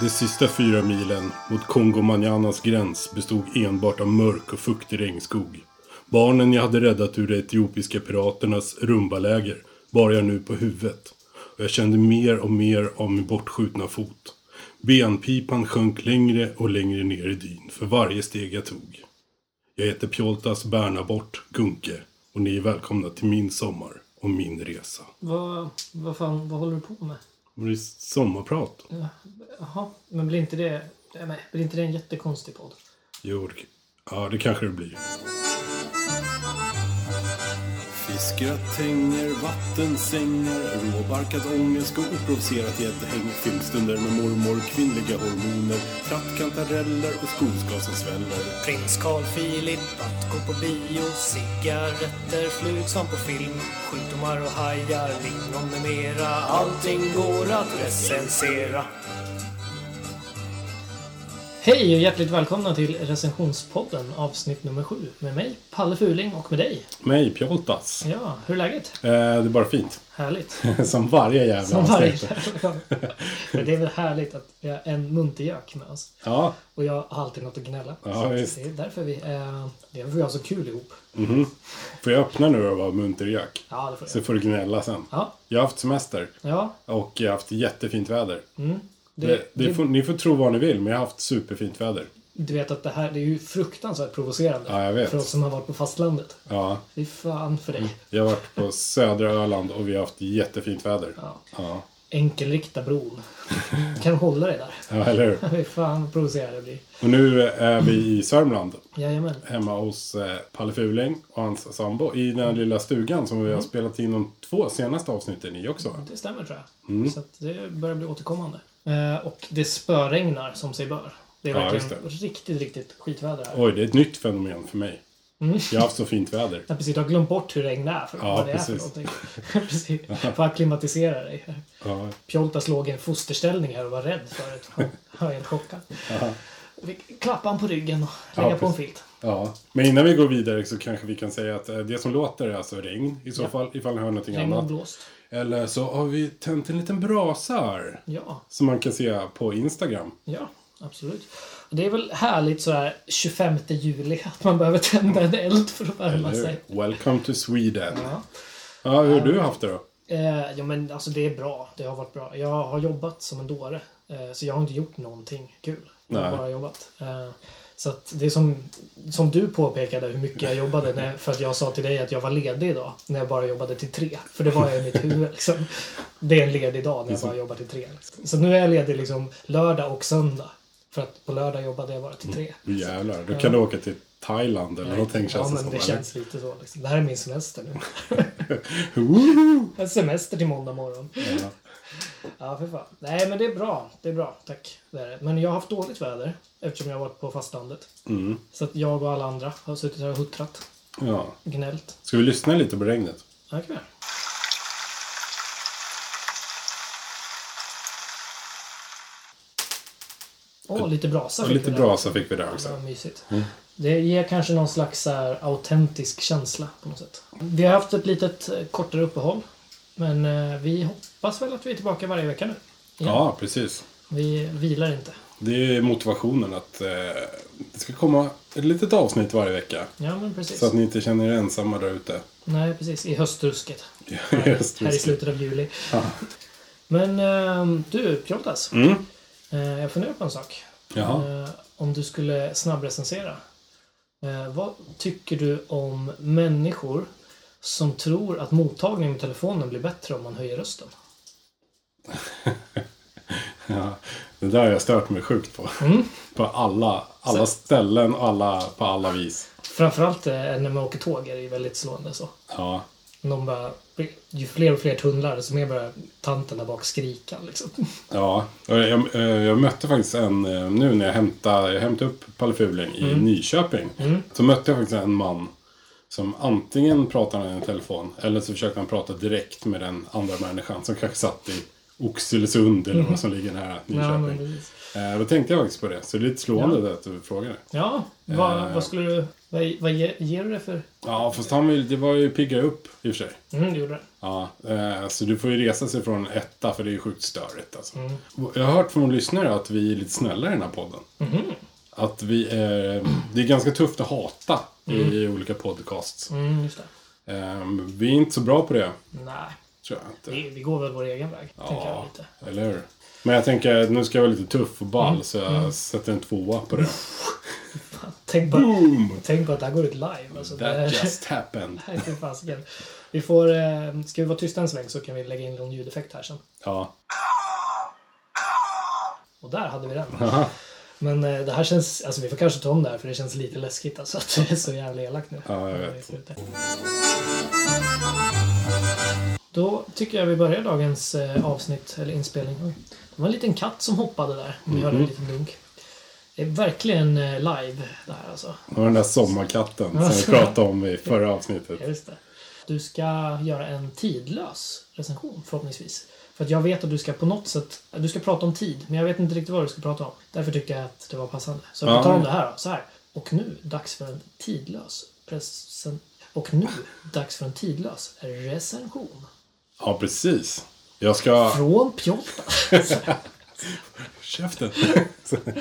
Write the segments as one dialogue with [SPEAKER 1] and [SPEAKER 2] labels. [SPEAKER 1] De sista fyra milen mot Kongo-Manjanas gräns bestod enbart av mörk och fuktig regnskog. Barnen jag hade räddat ur de etiopiska piraternas rumbaläger bar jag nu på huvudet och jag kände mer och mer av min bortskjutna fot. Benpipan sjönk längre och längre ner i dyn för varje steg jag tog. Jag heter Pjoltas Bernabort Gunke och ni är välkomna till min sommar och min resa.
[SPEAKER 2] Vad, vad fan, vad håller du på med?
[SPEAKER 1] Och det är sommarprat.
[SPEAKER 2] Ja, Jaha, men blir inte det... eh, Nej, men blir inte det en jättekonstig podd?
[SPEAKER 1] Jo, det- ja det kanske det blir. Fiskgröt, tänger, vattensängar, råbarkad ångest och oprovocerat gäddhäng. Filmstunder med mormor, kvinnliga hormoner, trattkantareller och skogsgas som sväller.
[SPEAKER 3] Prins Carl Philip att gå på bio Cigaretter flug som på film Sjukdomar och hajar, lingon med mera Allting går att recensera
[SPEAKER 2] Hej och hjärtligt välkomna till recensionspodden avsnitt nummer sju. Med mig, Palle Fuling, och med dig.
[SPEAKER 1] Mig, Pjoltas.
[SPEAKER 2] Ja, hur är läget?
[SPEAKER 1] Eh, det är bara fint.
[SPEAKER 2] Härligt.
[SPEAKER 1] Som varje jävla
[SPEAKER 2] Som varje
[SPEAKER 1] avsnitt.
[SPEAKER 2] Men Det är väl härligt att vi har en muntergök med oss.
[SPEAKER 1] Ja,
[SPEAKER 2] Och jag har alltid något att gnälla.
[SPEAKER 1] Ja,
[SPEAKER 2] så
[SPEAKER 1] visst.
[SPEAKER 2] det är därför vi, eh, det är därför vi har så kul ihop.
[SPEAKER 1] får jag öppna nu och vara munter gök?
[SPEAKER 2] Ja, det får
[SPEAKER 1] Så
[SPEAKER 2] jag.
[SPEAKER 1] får du gnälla sen.
[SPEAKER 2] Ja,
[SPEAKER 1] Jag har haft semester
[SPEAKER 2] ja.
[SPEAKER 1] och jag har haft jättefint väder.
[SPEAKER 2] Det,
[SPEAKER 1] det, det,
[SPEAKER 2] det-
[SPEAKER 1] får, ni får tro vad ni vill, men jag har haft superfint väder.
[SPEAKER 2] Du vet att det här det är ju fruktansvärt provocerande.
[SPEAKER 1] Ja, jag vet.
[SPEAKER 2] För oss som har varit på fastlandet.
[SPEAKER 1] Ja,
[SPEAKER 2] Fy fan för dig.
[SPEAKER 1] jag har varit på södra Öland och vi har haft jättefint väder.
[SPEAKER 2] Ja.
[SPEAKER 1] Ja,
[SPEAKER 2] Enkelrikta bron. kan du hålla dig där?
[SPEAKER 1] ja eller hur?
[SPEAKER 2] Fy fan vad provocerande det blir.
[SPEAKER 1] Och nu är vi i Sörmland,
[SPEAKER 2] Jajamän.
[SPEAKER 1] hemma hos eh, Palle Fuling och hans sambo, i den här lilla stugan som vi
[SPEAKER 2] Mm.
[SPEAKER 1] har spelat in de två senaste avsnitten i också. va?
[SPEAKER 2] Det stämmer tror jag.
[SPEAKER 1] Mm.
[SPEAKER 2] Så att det börjar bli återkommande. Eh, och det spöregnar som sig bör. Det är
[SPEAKER 1] Ja,
[SPEAKER 2] verkligen
[SPEAKER 1] just
[SPEAKER 2] riktigt, riktigt skitväder här.
[SPEAKER 1] Oj, det är ett nytt fenomen för mig.
[SPEAKER 2] Mm.
[SPEAKER 1] Jag har haft så fint väder.
[SPEAKER 2] Jag precis, du har glömt bort hur regn är för
[SPEAKER 1] Ja,
[SPEAKER 2] vad det är
[SPEAKER 1] precis.
[SPEAKER 2] för någonting. precis. För att klimatisera dig.
[SPEAKER 1] Ja,
[SPEAKER 2] Pjoltas låg i en fosterställning här och var rädd för det. Han var helt chockad. Vi klappade han på ryggen och lägga
[SPEAKER 1] Ja,
[SPEAKER 2] på en
[SPEAKER 1] precis.
[SPEAKER 2] filt.
[SPEAKER 1] ja. Men innan vi går vidare så kanske vi kan säga att eh, det som låter är alltså regn, i så fall, ifall ni hör någonting
[SPEAKER 2] Regn och
[SPEAKER 1] annat.
[SPEAKER 2] blåst.
[SPEAKER 1] Eller så har vi tänt en liten brasa här.
[SPEAKER 2] Ja,
[SPEAKER 1] Som man kan se på Instagram.
[SPEAKER 2] ja, absolut. Och Det är väl härligt sådär 25 juli att man behöver tända en eld för att
[SPEAKER 1] Eller
[SPEAKER 2] värma sig.
[SPEAKER 1] hur? Welcome to Sweden. Ja,
[SPEAKER 2] Ja.
[SPEAKER 1] hur har du haft det då?
[SPEAKER 2] Eh, jo men alltså det är bra. Det har varit bra. Jag har jobbat som en dåre. Eh, så jag har inte gjort någonting kul. Jag har
[SPEAKER 1] Nej.
[SPEAKER 2] bara jobbat. Eh, så att det är som, som du påpekade hur mycket jag jobbade. När, för att jag sa till dig att jag var ledig idag. När jag bara jobbade till tre. För det var jag i mitt huvud liksom. Det är en ledig dag när jag bara jobbar till tre. Liksom. Så nu är jag ledig liksom lördag och söndag. För att på lördag jobbade jag bara till tre.
[SPEAKER 1] Åh, Jävlar, då kan du åka till Thailand eller någonting
[SPEAKER 2] ja,
[SPEAKER 1] känns det
[SPEAKER 2] men
[SPEAKER 1] som.
[SPEAKER 2] det
[SPEAKER 1] eller?
[SPEAKER 2] känns lite så. Liksom. Det här är min semester nu.
[SPEAKER 1] Woho!
[SPEAKER 2] En semester till måndag morgon.
[SPEAKER 1] Ja.
[SPEAKER 2] Ja, för fan. Nej, men det är bra. Det är bra, tack. Det är det. Men jag har haft dåligt väder eftersom jag har varit på fastlandet.
[SPEAKER 1] Mm.
[SPEAKER 2] Så att jag och alla andra har suttit här och huttrat,
[SPEAKER 1] ja.
[SPEAKER 2] gnällt.
[SPEAKER 1] Ska vi lyssna lite på regnet?
[SPEAKER 2] Ja, det kan vi göra. Åh, lite brasa
[SPEAKER 1] Och
[SPEAKER 2] fick
[SPEAKER 1] lite
[SPEAKER 2] vi där.
[SPEAKER 1] brasa fick vi där
[SPEAKER 2] Ja,
[SPEAKER 1] också. Mm.
[SPEAKER 2] vad mysigt. Det ger kanske någon slags så här, autentisk känsla på något sätt. Vi har haft ett litet eh, kortare uppehåll. Men eh, vi hoppas väl att vi är tillbaka varje vecka nu.
[SPEAKER 1] Ja, precis.
[SPEAKER 2] Vi vilar inte.
[SPEAKER 1] Det är motivationen att eh, det ska komma ett litet avsnitt varje vecka.
[SPEAKER 2] Ja, men precis.
[SPEAKER 1] Så att ni inte känner er ensamma där ute.
[SPEAKER 2] Nej, precis. I höstrusket.
[SPEAKER 1] Just
[SPEAKER 2] Här i
[SPEAKER 1] det.
[SPEAKER 2] slutet av juli. Men ehm, du, Pjoltas.
[SPEAKER 1] Mm.
[SPEAKER 2] Eh, jag funderar på en sak.
[SPEAKER 1] Jaha.
[SPEAKER 2] Eh, om du skulle snabbrecensera. Eh, vad tycker du om människor som tror att mottagningen med telefonen blir bättre om man höjer rösten?
[SPEAKER 1] Ja, det där har jag stört mig sjukt på.
[SPEAKER 2] Mm.
[SPEAKER 1] På alla, alla ställen och alla, på alla vis.
[SPEAKER 2] Framförallt eh, när man åker tåg är det ju väldigt slående så.
[SPEAKER 1] Ja,
[SPEAKER 2] De bara, ju fler och fler tunnlar, desto mer börjar tanten där bak skrika liksom.
[SPEAKER 1] ja. Och Jag, eh, jag mötte faktiskt en, eh, nu när jag hämtade, jag hämtade upp Palle Fuling
[SPEAKER 2] Mm.
[SPEAKER 1] i Nyköping. Så mötte jag faktiskt en man som antingen pratade med en telefon eller så försökte han prata direkt med den andra människan som kanske satt i Oxelösund eller vad som ligger nära
[SPEAKER 2] Mm. Ja, men
[SPEAKER 1] Nyköping.
[SPEAKER 2] precis.
[SPEAKER 1] Eh, Då tänkte jag faktiskt på det, så det är lite slående att du frågade.
[SPEAKER 2] Ja, vad,
[SPEAKER 1] Eh.
[SPEAKER 2] vad skulle du... Vad, vad ge, ger du det för...
[SPEAKER 1] Ja, fast han vill, det var ju pigga upp i och för sig.
[SPEAKER 2] Mm, det gjorde det.
[SPEAKER 1] Ja, eh, så du får ju resa sig från en etta för det är ju sjukt störigt alltså. Jag har hört från lyssnare att vi är lite snällare i den här podden. Att vi är, det är ganska tufft att hata i olika podcasts.
[SPEAKER 2] Mm, just det.
[SPEAKER 1] Eh, vi är inte så bra på det,
[SPEAKER 2] Nej,
[SPEAKER 1] tror jag inte.
[SPEAKER 2] vi, vi går väl vår egen väg. Tänker jag lite.
[SPEAKER 1] eller hur? Men jag tänker, nu ska jag vara lite tuff och ball så jag sätter en tvåa på det.
[SPEAKER 2] Tänk på,
[SPEAKER 1] Boom!
[SPEAKER 2] tänk på att det här går ut live. Alltså, det
[SPEAKER 1] That
[SPEAKER 2] är-
[SPEAKER 1] just happened.
[SPEAKER 2] Nej, fy fasiken. Vi får, eh, ska vi vara tysta en sväng så kan vi lägga in någon ljudeffekt här sen.
[SPEAKER 1] Ja,
[SPEAKER 2] Och där hade vi den. Men eh, det här känns, alltså vi får kanske ta om det här för det känns lite läskigt alltså att det är så jävla elakt nu.
[SPEAKER 1] Ja, jag vet.
[SPEAKER 2] Då tycker jag vi börjar dagens eh, avsnitt, eller inspelning. Oj. Det var en liten katt som hoppade där. Ni hörde
[SPEAKER 1] Mhm.
[SPEAKER 2] en liten dunk. Det är verkligen eh, live det här alltså.
[SPEAKER 1] det var den där sommarkatten som vi
[SPEAKER 2] Alltså.
[SPEAKER 1] pratade om i förra avsnittet.
[SPEAKER 2] Ja, just det. Du ska göra en tidlös recension förhoppningsvis. För att jag vet att du ska på något sätt, du ska prata om tid, men jag vet inte riktigt vad du ska prata om. Därför tycker jag att det var passande. Så
[SPEAKER 1] Ja.
[SPEAKER 2] vi tar om det här då, så här. Och nu, dags för en tidlös presen... Och nu, dags för en tidlös recension.
[SPEAKER 1] Ja, precis. Jag ska...
[SPEAKER 2] Från Piotta.
[SPEAKER 1] Käften!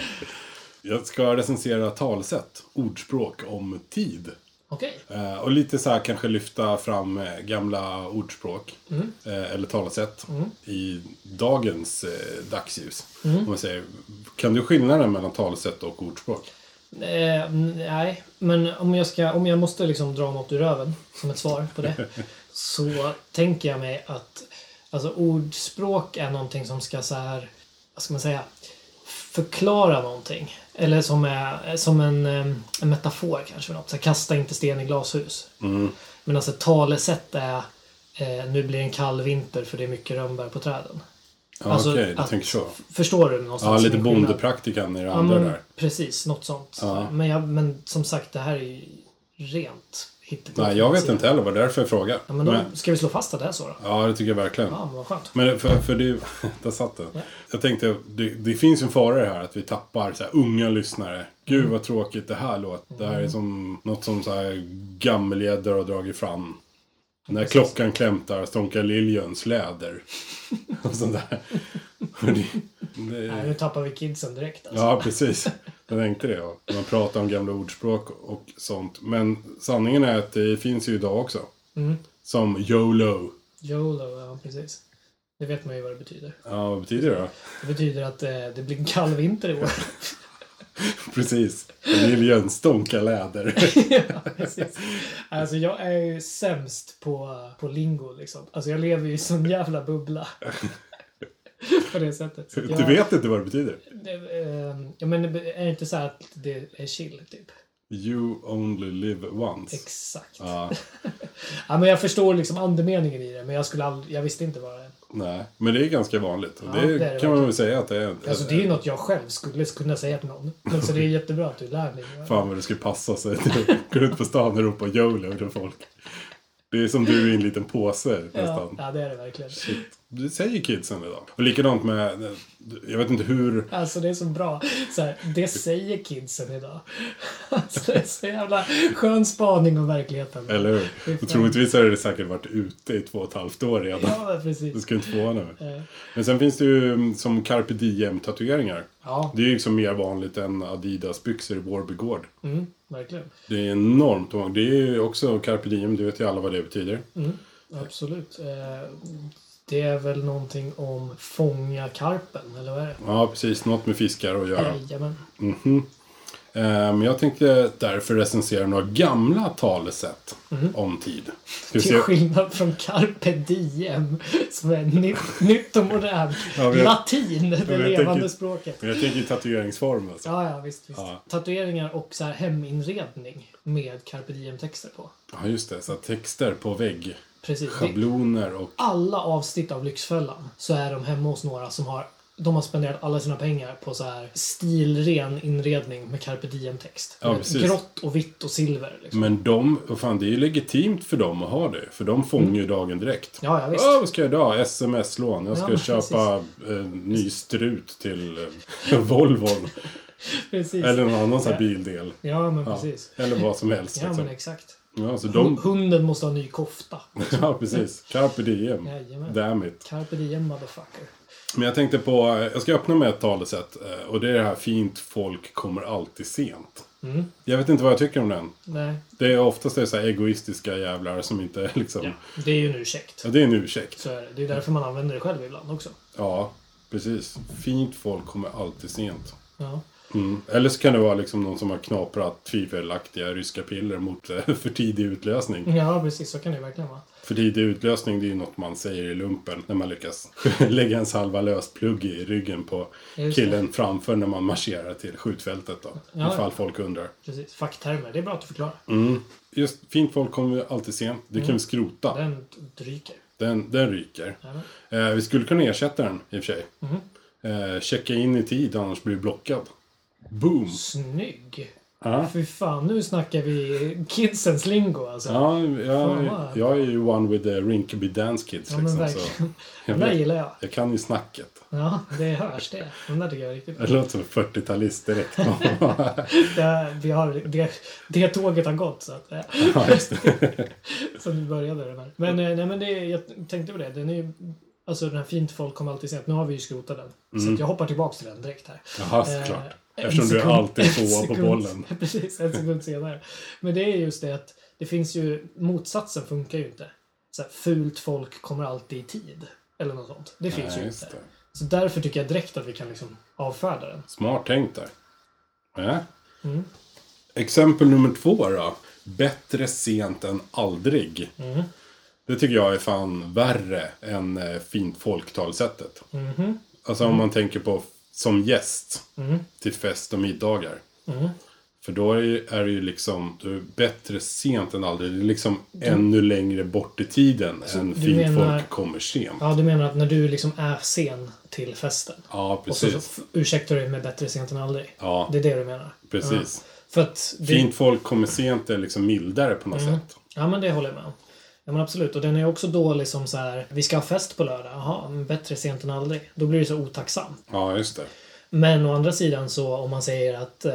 [SPEAKER 1] jag ska recensera talsätt, ordspråk om tid.
[SPEAKER 2] Okej.
[SPEAKER 1] Eh, Och lite så här kanske lyfta fram eh, gamla ordspråk
[SPEAKER 2] Mm.
[SPEAKER 1] eh, eller talesätt i dagens eh, dagsljus.
[SPEAKER 2] Mm.
[SPEAKER 1] Om man säger, kan du skillnaden mellan talesätt och ordspråk?
[SPEAKER 2] Eh, mm, nej, men om jag, ska, om jag måste liksom dra något ur röven som ett svar på det så tänker jag mig att alltså, ordspråk är någonting som ska så här, vad ska man säga, förklara någonting. Eller som, är, som en, eh, en metafor kanske. för Något. Så här, kasta inte sten i glashus.
[SPEAKER 1] Mm.
[SPEAKER 2] Men alltså ett talesätt är eh, nu blir det en kall vinter för det är mycket rönnbär på träden.
[SPEAKER 1] Ja,
[SPEAKER 2] Alltså,
[SPEAKER 1] Okej, du
[SPEAKER 2] att-
[SPEAKER 1] tänker så.
[SPEAKER 2] Förstår du
[SPEAKER 1] Ja,
[SPEAKER 2] någonstans?
[SPEAKER 1] lite
[SPEAKER 2] min skillnad?
[SPEAKER 1] bondepraktikan i det
[SPEAKER 2] Ja,
[SPEAKER 1] andra
[SPEAKER 2] men,
[SPEAKER 1] där.
[SPEAKER 2] precis, något sånt.
[SPEAKER 1] Ja.
[SPEAKER 2] Men, jag, men som sagt, det här är ju rent hittepå.
[SPEAKER 1] Nej, jag vet inte heller vad det är därför jag frågar.
[SPEAKER 2] Ja, men då ska vi slå fast att det är så då?
[SPEAKER 1] ja, det tycker jag verkligen.
[SPEAKER 2] Ja, men vad skönt.
[SPEAKER 1] Men för, för det, där satt den. Jag tänkte, det, det finns ju en fara i det här att vi tappar så här, unga lyssnare. Gud vad tråkigt det här låter. Det här är som något som så här gammelgäddor har dragit fram. När klockan klämtar stånkar liljens läder. Och sånt där. Och det,
[SPEAKER 2] Nej,
[SPEAKER 1] det,
[SPEAKER 2] nu tappar vi kidsen direkt alltså.
[SPEAKER 1] ja, precis. Jag tänkte det. ja. Man pratar om gamla ordspråk och sånt. Men sanningen är att det finns ju idag också. Som YOLO.
[SPEAKER 2] YOLO, ja precis. Det vet man ju vad det betyder.
[SPEAKER 1] Ja, vad betyder det då?
[SPEAKER 2] Det betyder att eh, det blir en kall vinter i år.
[SPEAKER 1] Precis. Liljen stonkar läder.
[SPEAKER 2] ja, precis. Alltså jag är ju sämst på, på lingo liksom. Alltså jag lever ju i sån jävla bubbla. på det sättet. Så att
[SPEAKER 1] Du
[SPEAKER 2] jag-
[SPEAKER 1] vet inte vad det betyder?
[SPEAKER 2] det, eh, Ja men det är det inte så här att det är chill typ?
[SPEAKER 1] You only live once.
[SPEAKER 2] Exakt.
[SPEAKER 1] Ja,
[SPEAKER 2] Ja, men jag förstår liksom andemeningen i det, men jag, skulle aldrig, jag visste inte vad det är.
[SPEAKER 1] nej. Men det är ganska vanligt. Och
[SPEAKER 2] Ja,
[SPEAKER 1] det,
[SPEAKER 2] det är det
[SPEAKER 1] kan man väl säga att det är.
[SPEAKER 2] Alltså, det är ju något jag själv skulle kunna säga till någon. Men så det är jättebra att du lär mig. det.
[SPEAKER 1] Fan vad det skulle passa sig. Gå runt på stan och ropa YOLO till folk. Det är som du i en liten påse
[SPEAKER 2] Ja,
[SPEAKER 1] nästan.
[SPEAKER 2] ja, det är det verkligen.
[SPEAKER 1] Det säger kidsen idag. Och likadant med, jag vet inte hur
[SPEAKER 2] Alltså det är så bra. Så här, det säger kidsen idag. Alltså, det är så jävla skön spaning om verkligheten.
[SPEAKER 1] eller hur? Och troligtvis har det säkert varit ute i två och ett halvt år redan.
[SPEAKER 2] Ja,
[SPEAKER 1] Det
[SPEAKER 2] precis.
[SPEAKER 1] ska inte förvåna mig.
[SPEAKER 2] Eh,
[SPEAKER 1] Men sen finns det ju mm, som carpe diem-tatueringar.
[SPEAKER 2] Ja,
[SPEAKER 1] Det är ju liksom mer vanligt än Adidas-byxor i Vårby Gård.
[SPEAKER 2] mm, verkligen.
[SPEAKER 1] Det är enormt många. Det är ju också carpe diem, det vet ju alla vad det betyder.
[SPEAKER 2] Mm. Absolut. Eh, Det är väl någonting om fånga karpen, eller vad är det?
[SPEAKER 1] Ja, precis. Något med fiskar att göra.
[SPEAKER 2] Jajamän.
[SPEAKER 1] Ehm, jag tänkte därför recensera några gamla talesätt om tid. Ska vi
[SPEAKER 2] Mm. Till
[SPEAKER 1] se?
[SPEAKER 2] skillnad från carpe diem, som är nytt, nytt och modernt.
[SPEAKER 1] Ja, men jag-
[SPEAKER 2] Latin, det
[SPEAKER 1] men jag
[SPEAKER 2] levande
[SPEAKER 1] tänker-
[SPEAKER 2] språket.
[SPEAKER 1] Men jag tänker ju tatueringsform alltså.
[SPEAKER 2] Ja, ja, visst, visst.
[SPEAKER 1] Ja.
[SPEAKER 2] Tatueringar och så här heminredning med carpe diem-texter på.
[SPEAKER 1] Ja, just det. Så här, texter på vägg,
[SPEAKER 2] Precis. Det,
[SPEAKER 1] schabloner och...
[SPEAKER 2] alla avsnitt av Lyxfällan så är de hemma hos några som har de har spenderat alla sina pengar på så här stilren inredning med carpe diem-text.
[SPEAKER 1] Ja,
[SPEAKER 2] Med
[SPEAKER 1] precis. Mm.
[SPEAKER 2] Grått och vitt och silver. Liksom.
[SPEAKER 1] Men de, och fan det är ju legitimt för dem att ha det. För de fångar ju dagen direkt.
[SPEAKER 2] Ja, ja, visst.
[SPEAKER 1] Ja, vad ska jag idag? Sms-lån. Jag ska
[SPEAKER 2] Ja,
[SPEAKER 1] köpa eh, ny strut till eh, Volvon.
[SPEAKER 2] Precis.
[SPEAKER 1] Eller någon annan sån här bildel.
[SPEAKER 2] Ja, men
[SPEAKER 1] Ja.
[SPEAKER 2] precis.
[SPEAKER 1] Eller vad som helst.
[SPEAKER 2] Ja,
[SPEAKER 1] liksom.
[SPEAKER 2] men exakt.
[SPEAKER 1] Ja, alltså de...
[SPEAKER 2] Hunden måste ha en ny kofta.
[SPEAKER 1] Ja, precis. Carpe diem.
[SPEAKER 2] Jajamän.
[SPEAKER 1] Damn it.
[SPEAKER 2] Carpe diem motherfucker.
[SPEAKER 1] Men jag tänkte på, eh, jag ska öppna med ett talesätt. eh, Och det är det här fint folk kommer alltid sent.
[SPEAKER 2] Mm.
[SPEAKER 1] Jag vet inte vad jag tycker om den.
[SPEAKER 2] Nej,
[SPEAKER 1] Det är oftast det är så här egoistiska jävlar som inte liksom...
[SPEAKER 2] ja.
[SPEAKER 1] Ja.
[SPEAKER 2] det är ju en ursäkt.
[SPEAKER 1] det är en ursäkt.
[SPEAKER 2] Så är det. det är därför man använder det själv ibland också.
[SPEAKER 1] Ja, precis. Fint folk kommer alltid sent.
[SPEAKER 2] Ja.
[SPEAKER 1] Mm. Eller så kan det vara liksom någon som har knaprat tvivelaktiga ryska piller mot eh, för tidig utlösning.
[SPEAKER 2] ja, precis. Så kan det ju verkligen vara.
[SPEAKER 1] För tidig utlösning det är ju något man säger i lumpen när man lyckas lägga ens halva lösplugg i ryggen på
[SPEAKER 2] Just det.
[SPEAKER 1] killen framför när man marscherar till skjutfältet då.
[SPEAKER 2] Ja.
[SPEAKER 1] Ifall folk undrar.
[SPEAKER 2] Precis. Facktermer, det är bra att du förklarar.
[SPEAKER 1] Mm. Just fint folk kommer ju alltid sent. Det
[SPEAKER 2] Mm.
[SPEAKER 1] kan vi skrota.
[SPEAKER 2] Den ryker.
[SPEAKER 1] Den, den ryker.
[SPEAKER 2] Jajamän.
[SPEAKER 1] Eh, vi skulle kunna ersätta den i och för sig.
[SPEAKER 2] Mm.
[SPEAKER 1] Eh, checka in i tid annars blir du blockad. Boom!
[SPEAKER 2] Snygg!
[SPEAKER 1] Ja.
[SPEAKER 2] Fy fan, nu snackar vi kidsens lingo alltså.
[SPEAKER 1] Ja, jag,
[SPEAKER 2] Fan, vad-
[SPEAKER 1] jag är ju one with the Rinkaby Dance Kids
[SPEAKER 2] Ja, men
[SPEAKER 1] liksom. Så
[SPEAKER 2] verkligen.
[SPEAKER 1] jag,
[SPEAKER 2] Den där
[SPEAKER 1] vet,
[SPEAKER 2] gillar jag.
[SPEAKER 1] jag kan ju snacket.
[SPEAKER 2] Ja, det hörs det. Den där tycker jag är riktigt bra.
[SPEAKER 1] Jag låter som en 40-talist direkt.
[SPEAKER 2] Det, vi har, det, det tåget har gått så att... eh,
[SPEAKER 1] ja, just det.
[SPEAKER 2] Så nu började den här. Men, eh, nej, men det, jag tänkte på det. Den är ju, alltså den här fint folk kommer alltid sent. Nu har vi ju skrotat den. Så att jag hoppar tillbaks till den direkt här.
[SPEAKER 1] Mm. Jaha,
[SPEAKER 2] Eh,
[SPEAKER 1] såklart.
[SPEAKER 2] en
[SPEAKER 1] Eftersom du
[SPEAKER 2] sekund-
[SPEAKER 1] alltid är
[SPEAKER 2] en
[SPEAKER 1] tvåa på
[SPEAKER 2] sekund-
[SPEAKER 1] bollen.
[SPEAKER 2] Precis, en sekund senare. Men det är just det att det finns ju, motsatsen funkar ju inte. Så här, fult folk kommer alltid i tid. Eller något sånt. Det finns
[SPEAKER 1] Nej,
[SPEAKER 2] ju
[SPEAKER 1] just
[SPEAKER 2] inte.
[SPEAKER 1] det.
[SPEAKER 2] Så därför tycker jag direkt att vi kan liksom avfärda den.
[SPEAKER 1] Smart tänkt där. Ja.
[SPEAKER 2] Mm.
[SPEAKER 1] Exempel nummer två då. Bättre sent än aldrig.
[SPEAKER 2] Mm.
[SPEAKER 1] Det tycker jag är fan värre än eh, fint folktalsättet.
[SPEAKER 2] Mm-hmm.
[SPEAKER 1] Alltså om man tänker på f- som gäst till fest och middagar.
[SPEAKER 2] Mm-hmm.
[SPEAKER 1] För då är, ju- är det ju liksom du är bättre sent än aldrig. Det är liksom ännu längre bort i tiden än
[SPEAKER 2] du
[SPEAKER 1] fint
[SPEAKER 2] menar-
[SPEAKER 1] folk kommer sent.
[SPEAKER 2] Ja, du menar att när du liksom är sen till festen.
[SPEAKER 1] Ja,
[SPEAKER 2] Och så, så
[SPEAKER 1] precis.
[SPEAKER 2] f- ursäktar du dig med bättre sent än aldrig.
[SPEAKER 1] Ja.
[SPEAKER 2] Det är det du menar?
[SPEAKER 1] Precis.
[SPEAKER 2] Ja. För att det,
[SPEAKER 1] Fint folk kommer sent är liksom mildare på något sätt.
[SPEAKER 2] Ja, men det håller jag med om. Ja, men absolut. Och den är också dålig som så här, vi ska ha fest på lördag. Jaha, men bättre sent än aldrig. Då blir det så otacksam.
[SPEAKER 1] Ja, just det.
[SPEAKER 2] Men å andra sidan så om man säger att eh,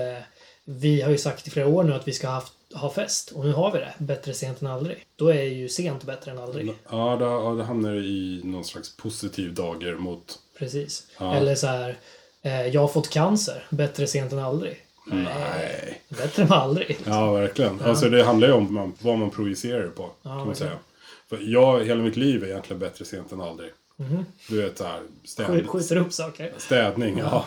[SPEAKER 2] vi har ju sagt i flera år nu att vi ska ha, haft, ha fest och nu har vi det. Bättre sent än aldrig. Då är ju sent bättre än aldrig.
[SPEAKER 1] Ja, då, ja, då hamnar det i någon slags positiv dager mot...
[SPEAKER 2] Precis.
[SPEAKER 1] Ja.
[SPEAKER 2] Eller så här, eh, jag har fått cancer. Bättre sent än aldrig.
[SPEAKER 1] Nej.
[SPEAKER 2] Bättre än aldrig.
[SPEAKER 1] Ja, verkligen. Alltså det handlar ju om man, vad man projicerar det på, kan man
[SPEAKER 2] verkligen.
[SPEAKER 1] säga. För jag, hela mitt liv är egentligen bättre sent än aldrig. Du vet såhär,
[SPEAKER 2] Sk-
[SPEAKER 1] städ,
[SPEAKER 2] Skjuter upp saker.
[SPEAKER 1] städning, ja.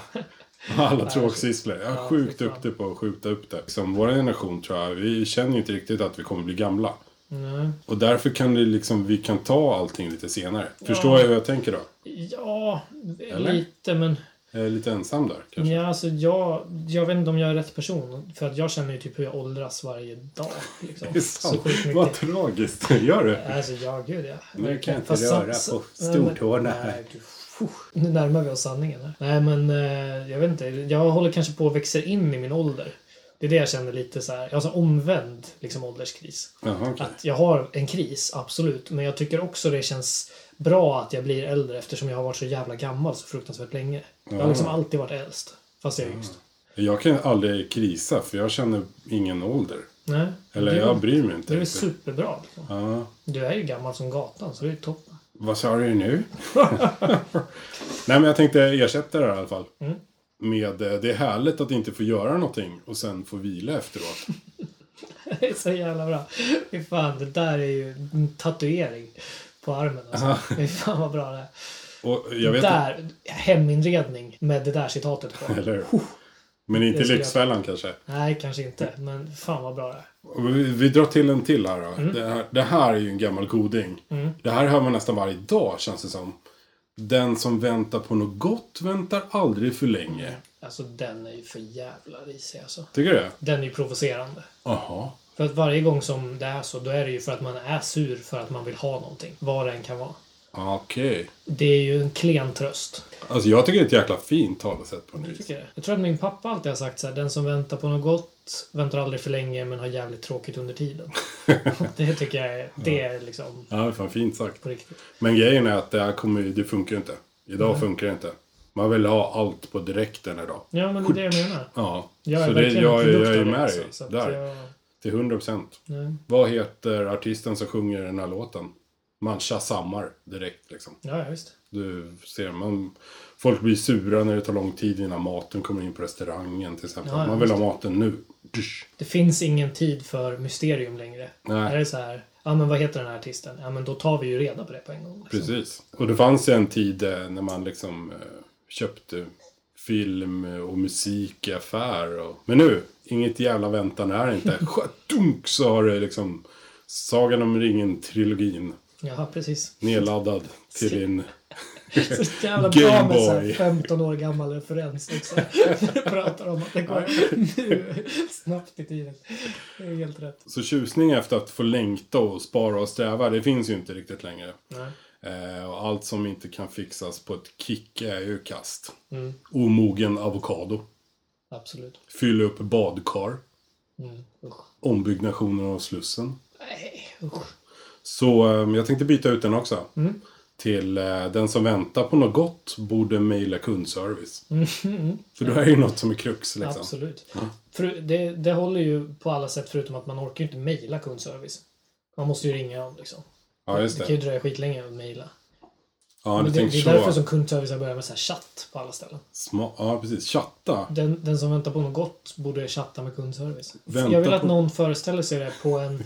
[SPEAKER 1] Alla tråksysslor. Jag är
[SPEAKER 2] Ja,
[SPEAKER 1] sjukt
[SPEAKER 2] fy fan.
[SPEAKER 1] duktig på att skjuta upp det. Som vår generation tror jag, vi känner ju inte riktigt att vi kommer bli gamla.
[SPEAKER 2] Nej.
[SPEAKER 1] Och därför kan det liksom, vi kan ta allting lite senare. Förstår jag hur jag tänker då?
[SPEAKER 2] Ja,
[SPEAKER 1] Eller?
[SPEAKER 2] lite men...
[SPEAKER 1] Jag är lite ensam där kanske.
[SPEAKER 2] Ja, alltså jag, jag vet inte om jag är rätt person. För att jag känner ju typ hur jag åldras varje dag. Liksom.
[SPEAKER 1] Det är
[SPEAKER 2] Så
[SPEAKER 1] sant.
[SPEAKER 2] sjukt mycket.
[SPEAKER 1] Vad tragiskt. Gör du?
[SPEAKER 2] Alltså, ja, gud ja.
[SPEAKER 1] Nu kan jag inte
[SPEAKER 2] Fast
[SPEAKER 1] röra
[SPEAKER 2] sam-
[SPEAKER 1] på
[SPEAKER 2] sam- nej, men-
[SPEAKER 1] stortårna
[SPEAKER 2] nej,
[SPEAKER 1] här.
[SPEAKER 2] du, fuh. Nu närmar vi oss sanningen här. Nej, men eh, jag vet inte. Jag håller kanske på att växa in i min ålder. Det är det jag känner lite så här. Alltså omvänd liksom, ålderskris.
[SPEAKER 1] Jaha, okej.
[SPEAKER 2] Att jag har en kris, absolut. Men jag tycker också det känns bra att jag blir äldre eftersom jag har varit så jävla gammal så fruktansvärt länge. Jag har liksom alltid varit äldst. Fast jag är yngst.
[SPEAKER 1] Jag kan aldrig krisa för jag känner ingen ålder.
[SPEAKER 2] Nej.
[SPEAKER 1] Eller
[SPEAKER 2] du,
[SPEAKER 1] jag bryr mig inte.
[SPEAKER 2] Du är
[SPEAKER 1] riktigt.
[SPEAKER 2] superbra. Liksom.
[SPEAKER 1] ja.
[SPEAKER 2] Du är ju gammal som gatan så det är toppen.
[SPEAKER 1] Vad sa du nu? Nej men jag tänkte ersätta det här i alla fall.
[SPEAKER 2] Mm.
[SPEAKER 1] Med eh, det är härligt att inte få göra någonting och sen få vila efteråt.
[SPEAKER 2] Det är så jävla bra. Fy fan, det där är ju en tatuering på armen. Alltså. Fy fan vad bra det är.
[SPEAKER 1] Och jag vet
[SPEAKER 2] där, heminredning med det där citatet på.
[SPEAKER 1] inte, eller hur? Men inte
[SPEAKER 2] Det skulle jag-
[SPEAKER 1] Lyxfällan kanske.
[SPEAKER 2] Nej, kanske inte. Men fan vad bra det är.
[SPEAKER 1] Och Vi, vi drar till en till här då.
[SPEAKER 2] Mm.
[SPEAKER 1] Det, här det här är ju en gammal goding. Det här hör man nästan varje dag känns det som. Den som väntar på något gott väntar aldrig för länge.
[SPEAKER 2] Alltså den är ju för jävla risig alltså.
[SPEAKER 1] Tycker du det?
[SPEAKER 2] Den är ju provocerande.
[SPEAKER 1] Jaha.
[SPEAKER 2] För att varje gång som det är så, då är det ju för att man är sur för att man vill ha någonting. Vad det än kan vara.
[SPEAKER 1] Ah, Okej.
[SPEAKER 2] Det är ju en klen tröst.
[SPEAKER 1] Alltså jag tycker det är ett jäkla fint talesätt på något
[SPEAKER 2] Jag
[SPEAKER 1] vis.
[SPEAKER 2] tycker det. Jag tror att min pappa alltid har sagt så här, den som väntar på något gott väntar aldrig för länge men har jävligt tråkigt under tiden. det tycker jag är, det är liksom
[SPEAKER 1] Ja, det är fan fint sagt.
[SPEAKER 2] på riktigt.
[SPEAKER 1] Men grejen är att det här kommer ju- det funkar ju inte. Idag funkar det inte. Man vill ha allt på direkten idag.
[SPEAKER 2] Mm. Ja, men det är det jag menar.
[SPEAKER 1] Ja.
[SPEAKER 2] Jag är
[SPEAKER 1] så det,
[SPEAKER 2] verkligen en
[SPEAKER 1] jag, jag,
[SPEAKER 2] produkt
[SPEAKER 1] är
[SPEAKER 2] av det
[SPEAKER 1] med
[SPEAKER 2] också,
[SPEAKER 1] dig
[SPEAKER 2] så att
[SPEAKER 1] där.
[SPEAKER 2] jag-
[SPEAKER 1] Till 100%.
[SPEAKER 2] Nej.
[SPEAKER 1] Vad heter artisten som sjunger den här låten? Man shazammar direkt liksom.
[SPEAKER 2] Ja, ja, visst.
[SPEAKER 1] Du ser, man, folk blir sura när det tar lång tid innan maten kommer in på restaurangen till exempel.
[SPEAKER 2] Ja, ja,
[SPEAKER 1] man vill ha
[SPEAKER 2] just
[SPEAKER 1] maten nu. Dysch.
[SPEAKER 2] Det finns ingen tid för mysterium längre.
[SPEAKER 1] Nej.
[SPEAKER 2] Är det så här, ja men vad heter den här artisten? Ja men då tar vi ju reda på det på en gång. Liksom.
[SPEAKER 1] Precis. Och det fanns ju en tid eh, när man liksom eh, köpte film och musik i affär. Och... Men nu, inget jävla väntan är inte. Dunk så har det liksom Sagan om ringen-trilogin
[SPEAKER 2] Liksom. Jaha, precis.
[SPEAKER 1] nedladdad till din...
[SPEAKER 2] Så jävla bra
[SPEAKER 1] Game
[SPEAKER 2] med så här
[SPEAKER 1] Boy.
[SPEAKER 2] 15 år gammal referens liksom. Vi pratar om att det går nu, snabbt i tiden. Det är helt rätt.
[SPEAKER 1] Så tjusning efter att få längta och spara och sträva, det finns ju inte riktigt längre.
[SPEAKER 2] Nej.
[SPEAKER 1] Eh, och allt som inte kan fixas på ett kick är ju kast. Omogen avokado.
[SPEAKER 2] Absolut.
[SPEAKER 1] Fyll upp badkar.
[SPEAKER 2] Mm. Usch.
[SPEAKER 1] Ombyggnationer av Slussen.
[SPEAKER 2] Nej, usch.
[SPEAKER 1] Så eh, jag tänkte byta ut den också.
[SPEAKER 2] Mm.
[SPEAKER 1] Till eh, den som väntar på något gott borde mejla kundservice. För då är ju något som är krux liksom.
[SPEAKER 2] Mm. Absolut. För det, det håller ju på alla sätt förutom att man orkar ju inte mejla kundservice. Man måste ju ringa dem liksom.
[SPEAKER 1] Ja, just
[SPEAKER 2] Det kan ju
[SPEAKER 1] det.
[SPEAKER 2] dröja skitlänge att mejla.
[SPEAKER 1] Ja, du
[SPEAKER 2] Men det, det
[SPEAKER 1] tänker
[SPEAKER 2] är därför
[SPEAKER 1] så.
[SPEAKER 2] som kundservice har börjat med så här chatt på alla ställen.
[SPEAKER 1] Sma- ja, precis. Chatta.
[SPEAKER 2] Den, den som väntar på något gott borde chatta med kundservice.
[SPEAKER 1] Vänta
[SPEAKER 2] jag vill att
[SPEAKER 1] på-
[SPEAKER 2] någon föreställer sig det på en,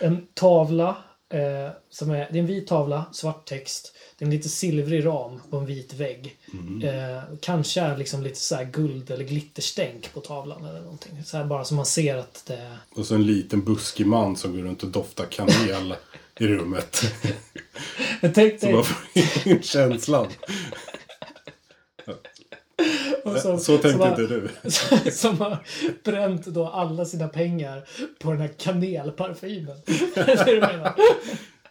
[SPEAKER 2] en tavla. Eh, som är, det är en vit tavla, svart text. Det är en lite silvrig ram på en vit vägg.
[SPEAKER 1] Mm.
[SPEAKER 2] Eh, kanske är liksom lite så här guld eller glitterstänk på tavlan eller någonting. Så här bara så man ser att det är...
[SPEAKER 1] Och så en liten buskig man som går runt och doftar kanel i rummet.
[SPEAKER 2] Men tänk
[SPEAKER 1] Så
[SPEAKER 2] dig,
[SPEAKER 1] man får in känslan.
[SPEAKER 2] och
[SPEAKER 1] Så
[SPEAKER 2] så, som
[SPEAKER 1] tänkte
[SPEAKER 2] har-
[SPEAKER 1] inte du.
[SPEAKER 2] som har bränt då alla sina pengar på den här kanelparfymen. Det är det du menar.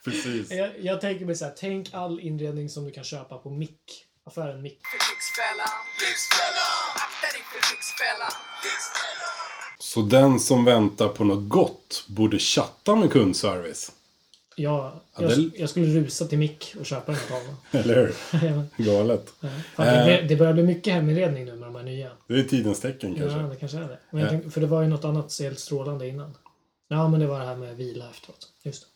[SPEAKER 1] Precis.
[SPEAKER 2] Jag, jag tänker mig så här, tänk all inredning som du kan köpa på Mick. Affären Mick.
[SPEAKER 4] Lyxfällan, Lyxfällan, akta dig för Lyxfällan. Lyxfällan.
[SPEAKER 1] Så den som väntar på något gott borde chatta med kundservice.
[SPEAKER 2] Jag,
[SPEAKER 1] Ja,
[SPEAKER 2] jag,
[SPEAKER 1] det-
[SPEAKER 2] jag skulle rusa till Mick och köpa den här tavlan.
[SPEAKER 1] Eller hur? Galet.
[SPEAKER 2] Fan,
[SPEAKER 1] Eh.
[SPEAKER 2] det, blir- det börjar bli mycket heminredning nu med de här nya.
[SPEAKER 1] Det är Eh. tidens tecken
[SPEAKER 2] Ja,
[SPEAKER 1] kanske.
[SPEAKER 2] det kanske är det. Men jag tänk, för det var ju något annat helt strålande innan. Ja, men det var det här med vila efteråt. Just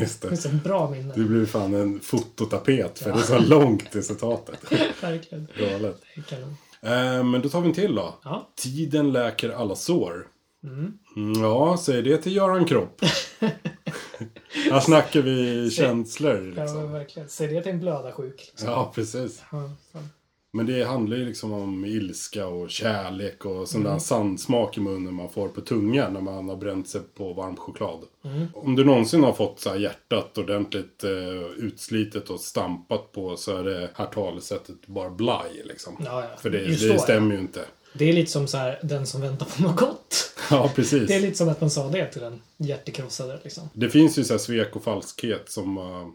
[SPEAKER 1] Just
[SPEAKER 2] det.
[SPEAKER 1] det.
[SPEAKER 2] Det är så bra
[SPEAKER 1] Det
[SPEAKER 2] minne.
[SPEAKER 1] blir fan en fototapet för det är så långt till citatet.
[SPEAKER 2] Verkligen.
[SPEAKER 1] Galet.
[SPEAKER 2] Det är kanon.
[SPEAKER 1] Eh, men då tar vi en till då.
[SPEAKER 2] Ja.
[SPEAKER 1] Tiden läker alla sår. Mm, Ja, säg det till Göran Kropp. Här snackar vi känslor.
[SPEAKER 2] Ja, men
[SPEAKER 1] Liksom.
[SPEAKER 2] verkligen. Säg det till en blödarsjuk. Liksom.
[SPEAKER 1] Ja, precis.
[SPEAKER 2] Ja, fan.
[SPEAKER 1] Men det handlar ju liksom om ilska och kärlek och sån
[SPEAKER 2] Mm.
[SPEAKER 1] där sandsmak i munnen man får på tungan när man har bränt sig på varm choklad.
[SPEAKER 2] Mm.
[SPEAKER 1] Om du någonsin har fått så här hjärtat ordentligt eh, utslitet och stampat på så är det här talesättet bara blaj liksom.
[SPEAKER 2] Ja, ja.
[SPEAKER 1] För det,
[SPEAKER 2] Just
[SPEAKER 1] det
[SPEAKER 2] så,
[SPEAKER 1] stämmer ju inte.
[SPEAKER 2] Det är lite som så här, den som väntar på något gott.
[SPEAKER 1] Ja, precis.
[SPEAKER 2] Det är
[SPEAKER 1] Det,
[SPEAKER 2] lite som att man sa det till den hjärtekrossade liksom.
[SPEAKER 1] finns ju så här svek och falskhet som eh,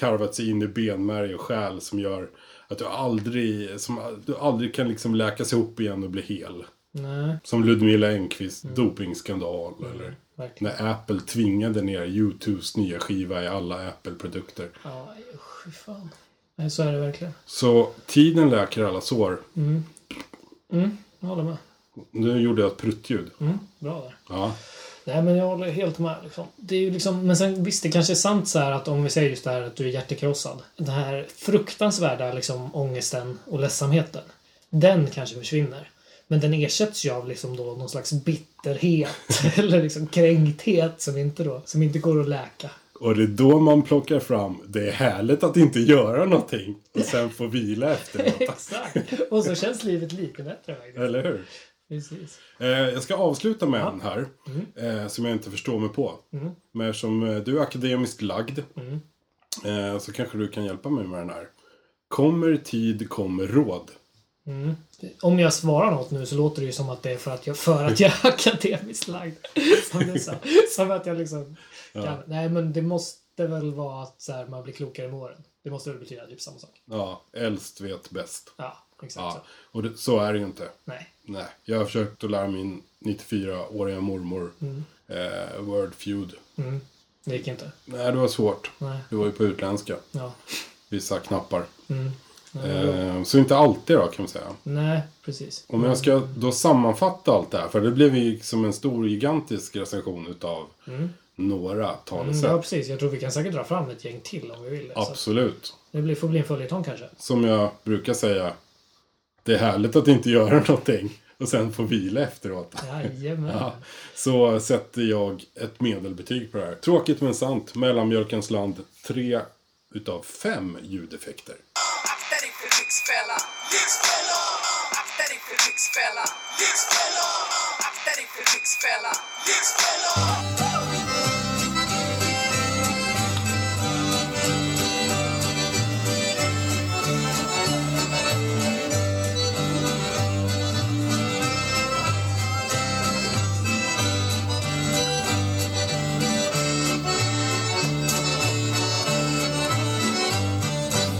[SPEAKER 1] karvat sig in i benmärg och själ som gör att du aldrig, som, du aldrig kan liksom läkas ihop igen och bli hel.
[SPEAKER 2] Nej,
[SPEAKER 1] Som Ludmilla Engqvist dopingskandal eller
[SPEAKER 2] verkligen.
[SPEAKER 1] när Apple tvingade ner YouTubes nya skiva i alla Apple-produkter.
[SPEAKER 2] Ja, usch, fy fan. Nej, så är det verkligen.
[SPEAKER 1] Så tiden läker alla sår.
[SPEAKER 2] Jag håller med.
[SPEAKER 1] Nu gjorde jag ett pruttljud.
[SPEAKER 2] Bra där.
[SPEAKER 1] Ja,
[SPEAKER 2] Nej, men jag håller helt med. Liksom. Det är ju liksom, men sen visst, det kanske är sant så här att om vi säger just det här att du är hjärtekrossad. Den här fruktansvärda liksom, ångesten och ledsamheten. Den kanske försvinner. Men den ersätts ju av liksom då någon slags bitterhet eller liksom kränkthet som inte, då, som inte går att läka.
[SPEAKER 1] och det är då man plockar fram det är härligt att inte göra någonting och sen få vila efteråt.
[SPEAKER 2] Exakt. Och så känns livet lite bättre faktiskt.
[SPEAKER 1] Eller hur?
[SPEAKER 2] Precis.
[SPEAKER 1] Eh, jag ska avsluta med en här eh, som jag inte förstår mig på. Men eftersom eh, du är akademiskt lagd eh, så kanske du kan hjälpa mig med den här. Kommer tid, kommer råd.
[SPEAKER 2] Om jag svarar något nu så låter det ju som att det är för att jag, för att jag är akademiskt lagd. Som du sa. Som att jag liksom kan. Nej men det måste väl vara att så här, man blir klokare med åren. Det måste väl betyda typ samma sak.
[SPEAKER 1] Ja, äldst vet bäst.
[SPEAKER 2] Ja, exakt så.
[SPEAKER 1] Ja, och det, så är det ju inte.
[SPEAKER 2] Nej.
[SPEAKER 1] Nej, jag har försökt att lära min 94-åriga mormor
[SPEAKER 2] Mm.
[SPEAKER 1] eh, Word Feud.
[SPEAKER 2] Det gick inte.
[SPEAKER 1] Nej, det var svårt.
[SPEAKER 2] Nej.
[SPEAKER 1] Det var ju på utländska.
[SPEAKER 2] Ja. Mm.
[SPEAKER 1] Vissa knappar. Eh, så inte alltid då kan man säga.
[SPEAKER 2] Nej, precis.
[SPEAKER 1] Om jag ska då sammanfatta allt det här, för det blev ju som en stor gigantisk recension utav några
[SPEAKER 2] Mm,
[SPEAKER 1] talesätt.
[SPEAKER 2] ja, precis. Jag tror vi kan säkert dra fram ett gäng till om vi vill. det. Så att
[SPEAKER 1] Absolut.
[SPEAKER 2] det blir, får bli en följetong kanske.
[SPEAKER 1] Som jag brukar säga, det är härligt att inte göra någonting och sen få vila efteråt.
[SPEAKER 2] Jajamän.
[SPEAKER 1] Ja, så sätter jag ett medelbetyg på det här. Tråkigt men sant. Mellanmjölkens land. Tre utav fem ljudeffekter.
[SPEAKER 4] Akta dig för lyxfälla. Lyxfälla. Akta dig för lyxfälla. Lyxfälla. Akta dig för lyxfälla. Lyxfälla.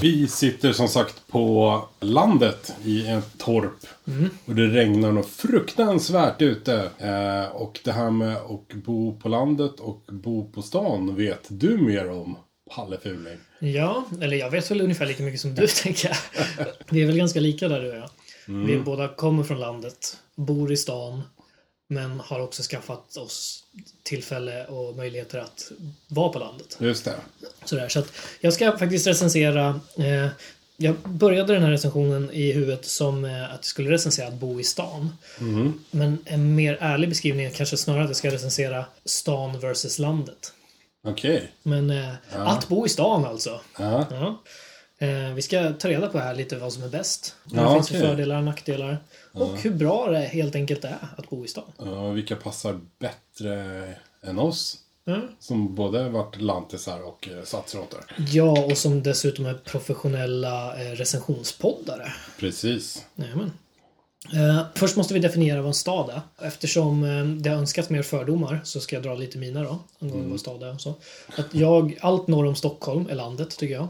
[SPEAKER 1] Vi sitter som sagt på landet i ett torp. Och det regnar något fruktansvärt ute. Eh, och det här med att bo på landet och bo på stan vet du mer om, Palle Fuling.
[SPEAKER 2] Ja, eller jag vet väl ungefär lika mycket som du tänker jag. Vi är väl ganska lika där du och jag. Vi båda kommer från landet, bor i stan, men har också skaffat oss tillfälle och möjligheter att vara på landet.
[SPEAKER 1] Just det.
[SPEAKER 2] Sådär. Så att jag ska faktiskt recensera eh, jag började den här recensionen i huvudet som eh, att jag skulle recensera att bo i stan. Men en mer ärlig beskrivning är kanske snarare att jag ska recensera stan versus landet.
[SPEAKER 1] Okej.
[SPEAKER 2] Men eh, att bo i stan alltså.
[SPEAKER 1] Ja.
[SPEAKER 2] Ja. Eh, vi ska ta reda på här lite vad som är bäst. Vad
[SPEAKER 1] Ja,
[SPEAKER 2] det finns för
[SPEAKER 1] okej.
[SPEAKER 2] fördelar och nackdelar. Och hur bra det helt enkelt är att bo i stan.
[SPEAKER 1] Ja, vilka passar bättre än oss?
[SPEAKER 2] Ja.
[SPEAKER 1] Som både varit lantisar och eh, satsråttor.
[SPEAKER 2] Ja, och som dessutom är professionella eh, recensionspoddare.
[SPEAKER 1] Precis.
[SPEAKER 2] Jajamän. Eh, först måste vi definiera vad en stad är. Eftersom eh, det har önskats mer fördomar så ska jag dra lite mina då. Angående
[SPEAKER 1] Mm.
[SPEAKER 2] vad en stad är och så. Att jag, allt norr om Stockholm är landet tycker jag.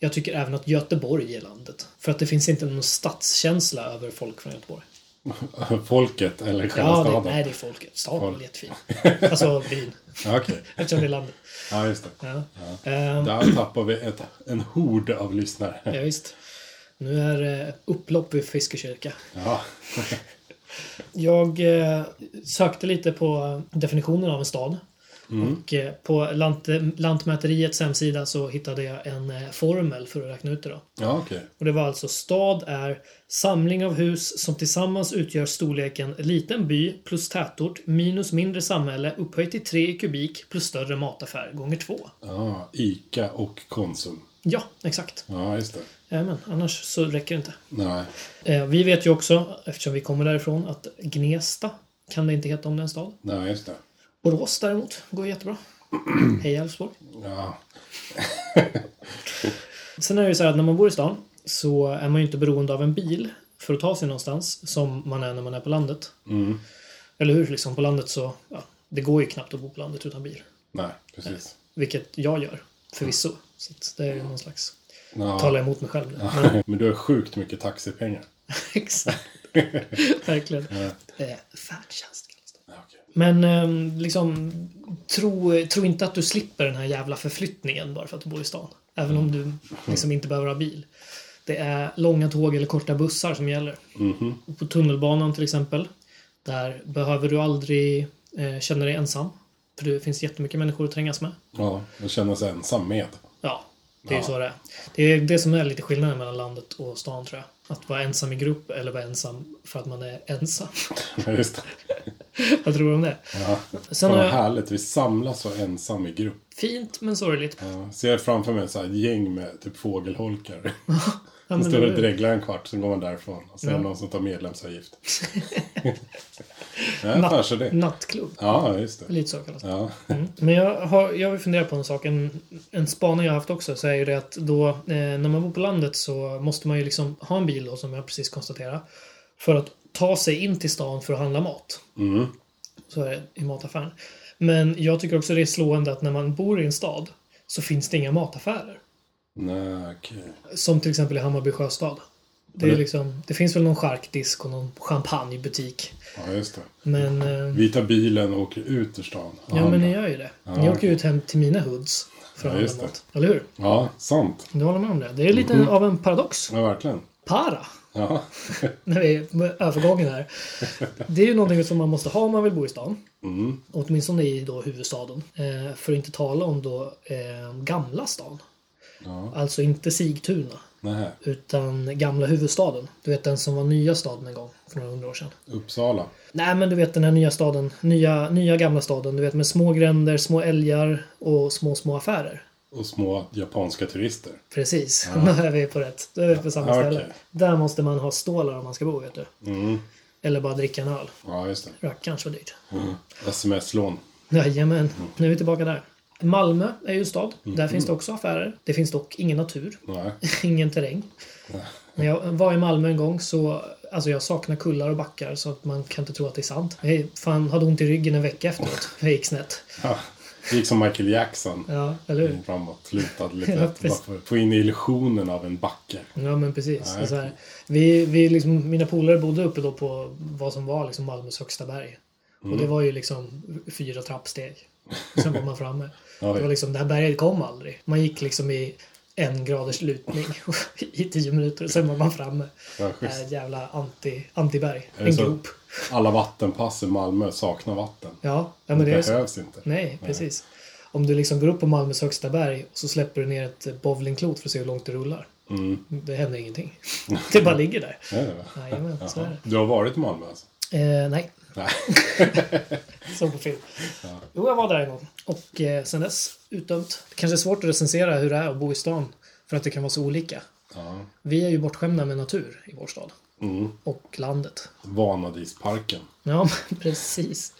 [SPEAKER 2] Jag tycker även att Göteborg är landet. För att det finns inte någon stadskänsla över folk från Göteborg.
[SPEAKER 1] Folket eller själva
[SPEAKER 2] Ja, det,
[SPEAKER 1] staden?
[SPEAKER 2] nej, det är folket. Staden är
[SPEAKER 1] Folk.
[SPEAKER 2] väl jättefin. Alltså byn.
[SPEAKER 1] Ja, Okej.
[SPEAKER 2] Eftersom det är landet.
[SPEAKER 1] Ja, just det.
[SPEAKER 2] Ja. Ehm,
[SPEAKER 1] Där tappar vi ett, en hord av lyssnare.
[SPEAKER 2] ja, visst. Nu är det upplopp i Fiskekyrka.
[SPEAKER 1] Ja.
[SPEAKER 2] Jag eh, sökte lite på definitionen av en stad.
[SPEAKER 1] Mm.
[SPEAKER 2] Och eh, på lant, Lantmäteriets hemsida så hittade jag en eh, formel för att räkna ut det då.
[SPEAKER 1] Ja, okej.
[SPEAKER 2] Och det var alltså stad är samling av hus som tillsammans utgör storleken liten by plus tätort minus mindre samhälle upphöjt till 3 i kubik plus större mataffär gånger 2.
[SPEAKER 1] Ja, Ica och Konsum.
[SPEAKER 2] Ja, exakt.
[SPEAKER 1] Ja, just det.
[SPEAKER 2] Jajamän, annars så räcker det inte.
[SPEAKER 1] Nej.
[SPEAKER 2] Eh, vi vet ju också, eftersom vi kommer därifrån, att Gnesta kan det inte heta om det är en stad.
[SPEAKER 1] Nej, just det.
[SPEAKER 2] Borås däremot går jättebra. Heja Elfsborg.
[SPEAKER 1] Ja.
[SPEAKER 2] Sen är det ju så här att när man bor i stan så är man ju inte beroende av en bil för att ta sig någonstans som man är när man är på landet.
[SPEAKER 1] Mm.
[SPEAKER 2] Eller hur? Liksom på landet så, ja, det går ju knappt att bo på landet utan bil.
[SPEAKER 1] Nej, precis.
[SPEAKER 2] Vilket jag gör, förvisso. Så att det är ju någon slags,
[SPEAKER 1] Ja.
[SPEAKER 2] talar emot mig själv nu.
[SPEAKER 1] Men du har sjukt mycket taxipengar.
[SPEAKER 2] Exakt. Verkligen. Eh, Färdtjänst kallas det.
[SPEAKER 1] Ja, okej.
[SPEAKER 2] Men eh, liksom, tro, tro inte att du slipper den här jävla förflyttningen bara för att du bor i stan. Även om du
[SPEAKER 1] Mm.
[SPEAKER 2] liksom inte behöver ha bil. Det är långa tåg eller korta bussar som gäller.
[SPEAKER 1] Mm-hmm.
[SPEAKER 2] På tunnelbanan till exempel, där behöver du aldrig eh, känna dig ensam. För det finns jättemycket människor att trängas med.
[SPEAKER 1] Ja, och känna sig ensam med.
[SPEAKER 2] Ja, det är ju
[SPEAKER 1] Ja.
[SPEAKER 2] så det är. Det är det som är lite skillnaden mellan landet och stan tror jag. Att vara ensam i grupp eller vara ensam för att man är ensam.
[SPEAKER 1] Ja, Just det.
[SPEAKER 2] Vad tror du om det?
[SPEAKER 1] Ja.
[SPEAKER 2] Sen har
[SPEAKER 1] Vad
[SPEAKER 2] jag
[SPEAKER 1] härligt. Vi samlas så ensam i grupp.
[SPEAKER 2] fint men sorgligt.
[SPEAKER 1] Ja, ser framför mig så här ett gäng med typ fågelholkar.
[SPEAKER 2] Ja,
[SPEAKER 1] De
[SPEAKER 2] men
[SPEAKER 1] står
[SPEAKER 2] eller
[SPEAKER 1] och
[SPEAKER 2] hur?
[SPEAKER 1] dreglar en kvart, sen går man därifrån. Och sen är det någon som tar medlemsavgift. Nej,
[SPEAKER 2] Natt-
[SPEAKER 1] fan så det.
[SPEAKER 2] Nattklubb.
[SPEAKER 1] Ja, just det.
[SPEAKER 2] Lite så kallas det.
[SPEAKER 1] Ja,
[SPEAKER 2] Mm. Men jag, har, jag vill fundera på en sak. En, en spaning jag har haft också så är ju det att då eh, när man bor på landet så måste man ju liksom ha en bil då som jag precis konstaterade. För att ta sig in till stan för att handla mat.
[SPEAKER 1] Mm.
[SPEAKER 2] Så är det i mataffären. Men jag tycker också det är slående att när man bor i en stad så finns det inga mataffärer.
[SPEAKER 1] nej okej.
[SPEAKER 2] Som till exempel i Hammarby sjöstad. Det, är
[SPEAKER 1] Mm.
[SPEAKER 2] liksom, det finns väl någon charkdisk och någon champagnebutik.
[SPEAKER 1] Ja, just det.
[SPEAKER 2] Men... Eh,
[SPEAKER 1] Vi tar bilen och åker ut ur stan.
[SPEAKER 2] Ja, men ni gör ju det. Ni åker ut hem till mina hoods
[SPEAKER 1] Ja,
[SPEAKER 2] För att handla
[SPEAKER 1] just Mm.
[SPEAKER 2] mat. Eller hur?
[SPEAKER 1] Ja, sant.
[SPEAKER 2] Du håller med om det. Det är lite av en paradox.
[SPEAKER 1] Ja, verkligen.
[SPEAKER 2] Para.
[SPEAKER 1] Ja,
[SPEAKER 2] när vi är med övergången här. Det är ju någonting som man måste ha om man vill bo i stan.
[SPEAKER 1] Mm.
[SPEAKER 2] Åtminstone i då huvudstaden. Eh, för att inte tala om då eh, gamla stan.
[SPEAKER 1] ja.
[SPEAKER 2] Alltså inte Sigtuna.
[SPEAKER 1] Nej,
[SPEAKER 2] Utan gamla huvudstaden. Du vet den som var nya staden en gång för några hundra år sedan.
[SPEAKER 1] Uppsala.
[SPEAKER 2] Nej men du vet den här nya staden. Nya, nya gamla staden. Du vet med små gränder, små älgar och små små affärer.
[SPEAKER 1] Och små japanska turister.
[SPEAKER 2] Precis, då är vi på rätt. Då är vi på samma
[SPEAKER 1] Ja, okej.
[SPEAKER 2] ställe. Där måste man ha stålar om man ska bo vet du.
[SPEAKER 1] Mm.
[SPEAKER 2] Eller bara dricka en öl.
[SPEAKER 1] Ja, just det.
[SPEAKER 2] Rackarns vad dyrt.
[SPEAKER 1] Mm. Sms-lån.
[SPEAKER 2] Jajamän, nu är vi tillbaka där. Malmö är ju en stad.
[SPEAKER 1] Mm.
[SPEAKER 2] Där finns det också affärer. Det finns dock ingen natur,
[SPEAKER 1] Nej.
[SPEAKER 2] ingen terräng. När jag var i Malmö en gång så alltså jag saknar kullar och backar så att man kan inte tro att det är sant. Jag fan, hade ont i ryggen en vecka efteråt. Jag gick snett.
[SPEAKER 1] Ja. Det gick som Michael Jackson.
[SPEAKER 2] Ja, eller hur?
[SPEAKER 1] Framåt, lutad lite.
[SPEAKER 2] Ja,
[SPEAKER 1] Bara
[SPEAKER 2] precis.
[SPEAKER 1] för att få in illusionen av en backe.
[SPEAKER 2] Ja men precis.
[SPEAKER 1] Nej.
[SPEAKER 2] Så här, vi, vi liksom, mina polare bodde uppe då på vad som var liksom Malmös högsta berg.
[SPEAKER 1] Mm.
[SPEAKER 2] Och det var ju liksom fyra trappsteg. Sen var man framme.
[SPEAKER 1] Oj.
[SPEAKER 2] Det var liksom, det här berget kom aldrig. Man gick liksom i en graders lutning i tio minuter och sen var man framme.
[SPEAKER 1] Ja,
[SPEAKER 2] Det
[SPEAKER 1] schysst.
[SPEAKER 2] här jävla anti, antiberg.
[SPEAKER 1] Är det
[SPEAKER 2] En
[SPEAKER 1] så?
[SPEAKER 2] grop.
[SPEAKER 1] Alla vattenpass i Malmö saknar vatten.
[SPEAKER 2] Ja, ja
[SPEAKER 1] Det
[SPEAKER 2] men det är så.
[SPEAKER 1] behövs inte.
[SPEAKER 2] Nej, precis. Om du liksom går upp på Malmös högsta berg och så släpper du ner ett bowlingklot för att se hur långt det rullar.
[SPEAKER 1] Mm.
[SPEAKER 2] Det händer ingenting. Det bara ligger där.
[SPEAKER 1] Är det det?
[SPEAKER 2] Jajamän, så är det.
[SPEAKER 1] Du har varit i Malmö alltså?
[SPEAKER 2] Eh, nej,
[SPEAKER 1] Nej.
[SPEAKER 2] såg på film. Jo, jag var där en gång. Och eh, sen dess, utdömt. Det kanske är svårt att recensera hur det är att bo i stan. För att det kan vara så olika.
[SPEAKER 1] Ja.
[SPEAKER 2] Vi är ju bortskämda med natur i vår stad.
[SPEAKER 1] Mm.
[SPEAKER 2] Och landet.
[SPEAKER 1] Vanadisparken.
[SPEAKER 2] Ja, men precis.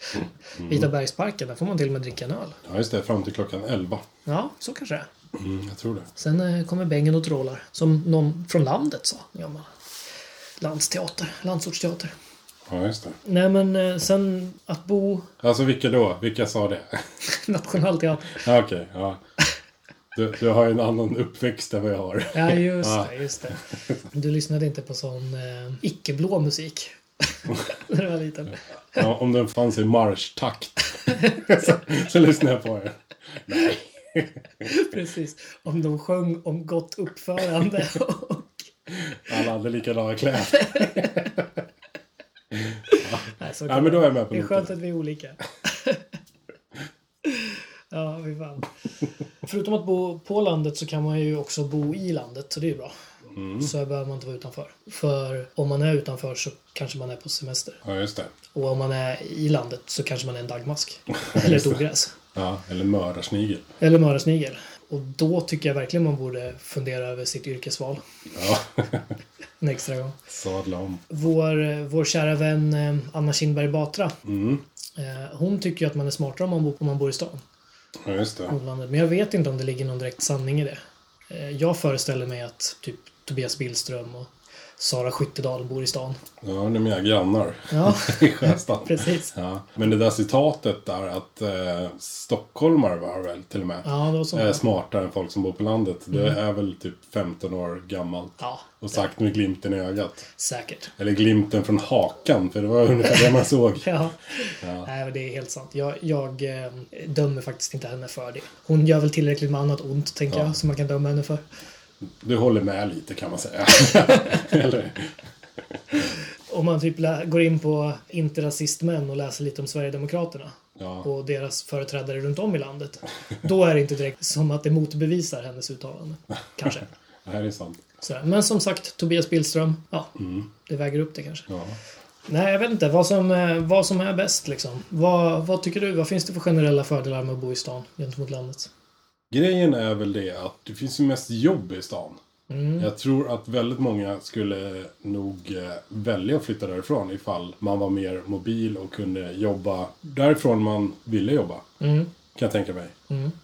[SPEAKER 2] Vita bergsparken, där får man till och med dricka en öl.
[SPEAKER 1] Ja, just det. Fram till klockan 11.
[SPEAKER 2] Ja, så kanske det är.
[SPEAKER 1] Mm, jag tror det.
[SPEAKER 2] Sen eh, kommer bängen och trålar. Som någon från landet sa. Ja, man. Landsteater, landsortsteater.
[SPEAKER 1] Ja, just det.
[SPEAKER 2] Nej, men eh, sen att bo
[SPEAKER 1] Alltså vilka då? Vilka sa det?
[SPEAKER 2] nationalteater.
[SPEAKER 1] Ja, Okej, ja. Du, du har ju en annan uppväxt än vad jag har.
[SPEAKER 2] Ja, just
[SPEAKER 1] Ja.
[SPEAKER 2] det. Just det. Du lyssnade inte på sån eh, icke-blå musik när du var liten.
[SPEAKER 1] Ja, om den fanns i marschtakt så, så lyssnar jag på den.
[SPEAKER 2] Precis. Om de sjöng om gott uppförande.
[SPEAKER 1] Alla hade likadana kläder.
[SPEAKER 2] Nej, så
[SPEAKER 1] Ja, men då är jag med på
[SPEAKER 2] det är skönt
[SPEAKER 1] noterna.
[SPEAKER 2] att vi är olika. ja, fy fan. Förutom att bo på landet så kan man ju också bo i landet, så det är ju bra.
[SPEAKER 1] Mm.
[SPEAKER 2] Så behöver man inte vara utanför. För om man är utanför så kanske man är på semester.
[SPEAKER 1] Ja, just det.
[SPEAKER 2] Och om man är i landet så kanske man är en dagmask. Eller ett ogräs.
[SPEAKER 1] Ja, eller mördarsnigel.
[SPEAKER 2] Eller mördarsnigel. Och då tycker jag verkligen man borde fundera över sitt yrkesval
[SPEAKER 1] Ja,
[SPEAKER 2] en extra gång.
[SPEAKER 1] sadla om.
[SPEAKER 2] Vår, vår kära vän eh, Anna Kinberg Batra.
[SPEAKER 1] Mm.
[SPEAKER 2] eh, Hon tycker ju att man är smartare om man bor, om man bor i stan.
[SPEAKER 1] Ja, just det.
[SPEAKER 2] Odlandet. Men jag vet inte om det ligger någon direkt sanning i det. Eh, Jag föreställer mig att typ Tobias Billström och Sara Skyttedal bor i stan.
[SPEAKER 1] Ja, de är mina grannar
[SPEAKER 2] Ja,
[SPEAKER 1] i Sjöstan.
[SPEAKER 2] precis.
[SPEAKER 1] Ja. Men det där citatet där att eh, stockholmare var väl till och med
[SPEAKER 2] Ja, det var så.
[SPEAKER 1] är smartare än folk som bor på landet. Det är väl typ 15 år gammalt.
[SPEAKER 2] Ja,
[SPEAKER 1] Och sagt med glimten i ögat.
[SPEAKER 2] säkert.
[SPEAKER 1] Eller glimten från hakan, för det var ungefär det man såg.
[SPEAKER 2] Ja. Nej, men det är helt sant. Jag, jag eh, dömer faktiskt inte henne för det. Hon gör väl tillräckligt med annat ont, tänker jag, som man kan döma henne för.
[SPEAKER 1] Du håller med lite kan man säga. Eller,
[SPEAKER 2] Om man typ lä- går in på Inte rasistmän och läser lite om Sverigedemokraterna
[SPEAKER 1] ja.
[SPEAKER 2] och deras företrädare runt om i landet. Då är det inte direkt som att det motbevisar hennes uttalande. Kanske.
[SPEAKER 1] Det här är sant.
[SPEAKER 2] Sådär. Men som sagt, Tobias Billström. Ja, det väger upp det kanske.
[SPEAKER 1] Ja.
[SPEAKER 2] Nej, jag vet inte vad som, eh, vad som är bäst liksom. Vad, vad tycker du? Vad finns det för generella fördelar med att bo i stan gentemot landet?
[SPEAKER 1] Grejen är väl det att det finns ju mest jobb i stan.
[SPEAKER 2] Mm.
[SPEAKER 1] Jag tror att väldigt många skulle nog eh, välja att flytta därifrån ifall man var mer mobil och kunde jobba därifrån man ville jobba.
[SPEAKER 2] Mm.
[SPEAKER 1] Kan jag tänka mig.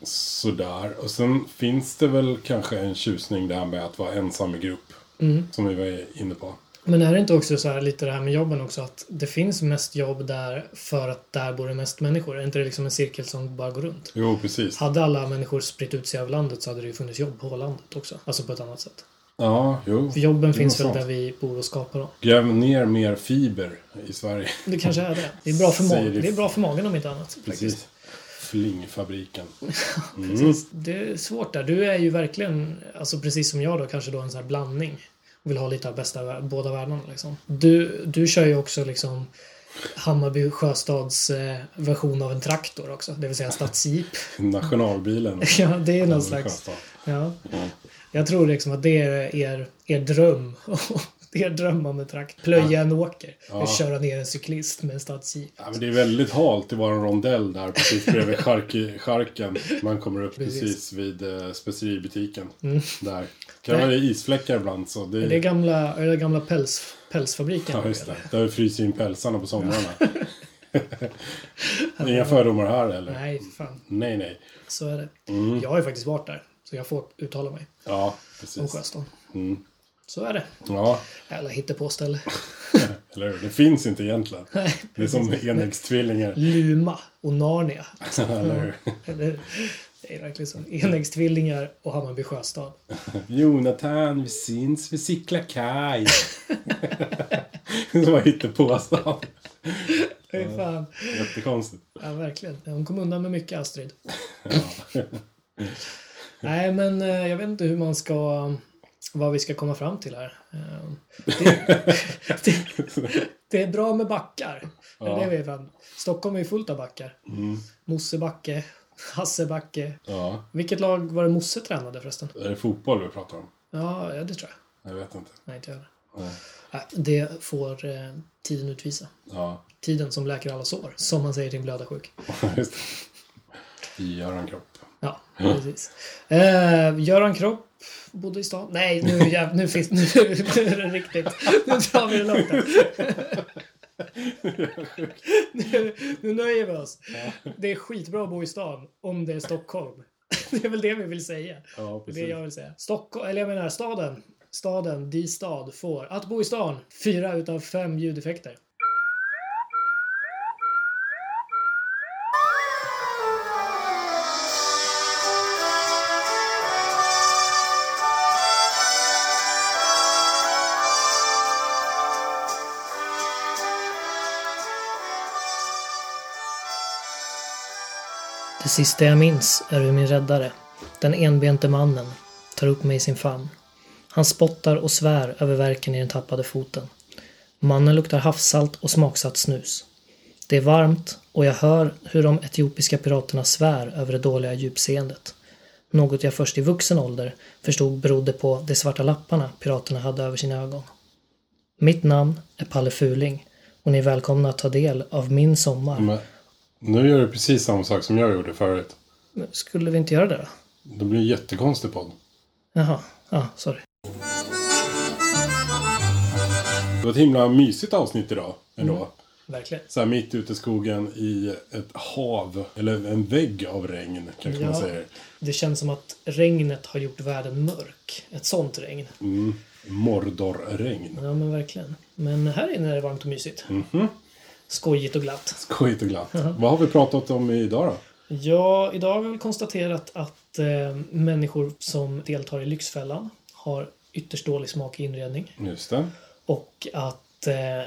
[SPEAKER 1] Sådär. Och sen finns det väl kanske en tjusning det här med att vara ensam i grupp.
[SPEAKER 2] Mm.
[SPEAKER 1] Som vi var inne på.
[SPEAKER 2] Men är det inte också så här lite det här med jobben också att det finns mest jobb där för att där bor det mest människor? Är inte det liksom en cirkel som bara går runt?
[SPEAKER 1] Jo, precis.
[SPEAKER 2] Hade alla människor spritt ut sig över landet så hade det ju funnits jobb på landet också. Alltså på ett annat sätt.
[SPEAKER 1] Ja, jo.
[SPEAKER 2] För jobben
[SPEAKER 1] Det är
[SPEAKER 2] finns
[SPEAKER 1] nog
[SPEAKER 2] väl
[SPEAKER 1] sant.
[SPEAKER 2] där vi bor och skapar dem.
[SPEAKER 1] Gräv ner mer fiber i Sverige.
[SPEAKER 2] Det kanske är det. Det är bra för,
[SPEAKER 1] Säger
[SPEAKER 2] mag-
[SPEAKER 1] det-
[SPEAKER 2] det är bra för magen om inte annat. Faktiskt.
[SPEAKER 1] Precis. Flingfabriken. Mm.
[SPEAKER 2] Precis. Det är svårt där. Du är ju verkligen, alltså precis som jag då, kanske då en sån här blandning. Vill ha lite av bästa av vär- båda världarna liksom. Du, du kör ju också liksom Hammarby Sjöstads eh, version av en traktor också, det vill säga en stadsjeep.
[SPEAKER 1] Nationalbilen.
[SPEAKER 2] ja, det är någon slags... Ja. Jag tror liksom att det är er, er dröm. er dröm om en traktor. Plöja en åker och
[SPEAKER 1] Ja.
[SPEAKER 2] köra ner en cyklist med en stadsjeep.
[SPEAKER 1] Ja, men det är väldigt halt i våran rondell där precis bredvid chark- charken. Man kommer upp
[SPEAKER 2] Precis.
[SPEAKER 1] precis, vid eh, speceributiken. Där.
[SPEAKER 2] Det-
[SPEAKER 1] Kan vara isfläckar ibland så det,
[SPEAKER 2] Det är gamla, är det gamla päls, pälsfabriken.
[SPEAKER 1] Mm. Ja, just det. Där fryser in pälsarna på somrarna. Inga fördomar här eller? Nej,
[SPEAKER 2] Nej, fan.
[SPEAKER 1] nej.
[SPEAKER 2] Så är det.
[SPEAKER 1] Mm.
[SPEAKER 2] Jag har ju faktiskt varit där. Så jag får uttala mig
[SPEAKER 1] Ja,
[SPEAKER 2] om
[SPEAKER 1] precis.
[SPEAKER 2] Sjöstaden.
[SPEAKER 1] Mm.
[SPEAKER 2] Så är det.
[SPEAKER 1] Ja,
[SPEAKER 2] Eller hittepåställe.
[SPEAKER 1] eller hur? Det finns inte egentligen.
[SPEAKER 2] Nej,
[SPEAKER 1] Det är som enäggstvillingar.
[SPEAKER 2] Luma och Narnia.
[SPEAKER 1] eller hur?
[SPEAKER 2] Eller, det är verkligen så. Enäggstvillingar och Hammarby Sjöstad.
[SPEAKER 1] Jonathan, vi syns vid Sickla kaj. Som var hittepåstad.
[SPEAKER 2] Fy fan.
[SPEAKER 1] Jättekonstigt.
[SPEAKER 2] Ja, verkligen. Hon kom undan med mycket, Astrid. Nej, men eh, jag vet inte hur man ska... Vad vi ska komma fram till här. Eh, Det, det, det är bra med backar.
[SPEAKER 1] Ja. Mm.
[SPEAKER 2] Det är vi fan. Stockholm är ju fullt av backar. Mossebacke, Hassebacke.
[SPEAKER 1] Ja.
[SPEAKER 2] Vilket lag var det Mosse tränade förresten?
[SPEAKER 1] Är det fotboll vi pratar om?
[SPEAKER 2] Ja, ja, det tror jag.
[SPEAKER 1] Jag vet inte.
[SPEAKER 2] Nej, inte jag heller.
[SPEAKER 1] Nej.
[SPEAKER 2] Nej, Det får eh, tiden utvisa.
[SPEAKER 1] Ja,
[SPEAKER 2] Tiden som läker alla sår, som man säger till en blödarsjuk.
[SPEAKER 1] just det. I Göran Kropp.
[SPEAKER 2] Ja, precis. Eh, Göran Kropp bodde i stan. Nej, nu, är jäv... nu, finns... nu är det riktigt. Nu drar vi det långt. här. nu, nu nöjer vi oss. Det är skitbra att bo i stan om det är Stockholm. Det är väl det vi vill säga.
[SPEAKER 1] Ja,
[SPEAKER 2] Det är det jag vill säga. Stockholm, eller jag menar staden. Staden, di stad, får. Att bo i stan, fyra utav fem ljudeffekter. Det sista jag minns är hur min räddare, den enbente mannen, tar upp mig i sin famn. Han spottar och svär över verken i den tappade foten. Mannen luktar havssalt och smaksatt snus. Det är varmt och jag hör hur de etiopiska piraterna svär över det dåliga djupseendet. Något jag först i vuxen ålder förstod berodde på de svarta lapparna piraterna hade över sina ögon. Mitt namn är Palle Fuling och ni är välkomna att ta del av min sommar.
[SPEAKER 1] Men, nu gör du precis samma sak som jag gjorde förut.
[SPEAKER 2] Skulle vi inte göra det då?
[SPEAKER 1] Det blir en jättekonstig podd.
[SPEAKER 2] Jaha, ja, sorry.
[SPEAKER 1] Det var ett himla mysigt avsnitt idag ändå.
[SPEAKER 2] Mm. Verkligen.
[SPEAKER 1] Så här mitt ute i skogen i ett hav, eller en vägg av regn kanske man
[SPEAKER 2] Ja.
[SPEAKER 1] säger.
[SPEAKER 2] Det känns som att regnet har gjort världen mörk. Ett sånt regn.
[SPEAKER 1] Mm. Mordorregn.
[SPEAKER 2] Ja, men verkligen. Men här inne är det varmt och mysigt.
[SPEAKER 1] Mhm.
[SPEAKER 2] Skojigt och glatt.
[SPEAKER 1] Skojigt och glatt. Vad har vi pratat om idag då?
[SPEAKER 2] Ja, idag har vi väl konstaterat att eh, människor som deltar i Lyxfällan har ytterst dålig smak i inredning.
[SPEAKER 1] Just det.
[SPEAKER 2] Och att eh,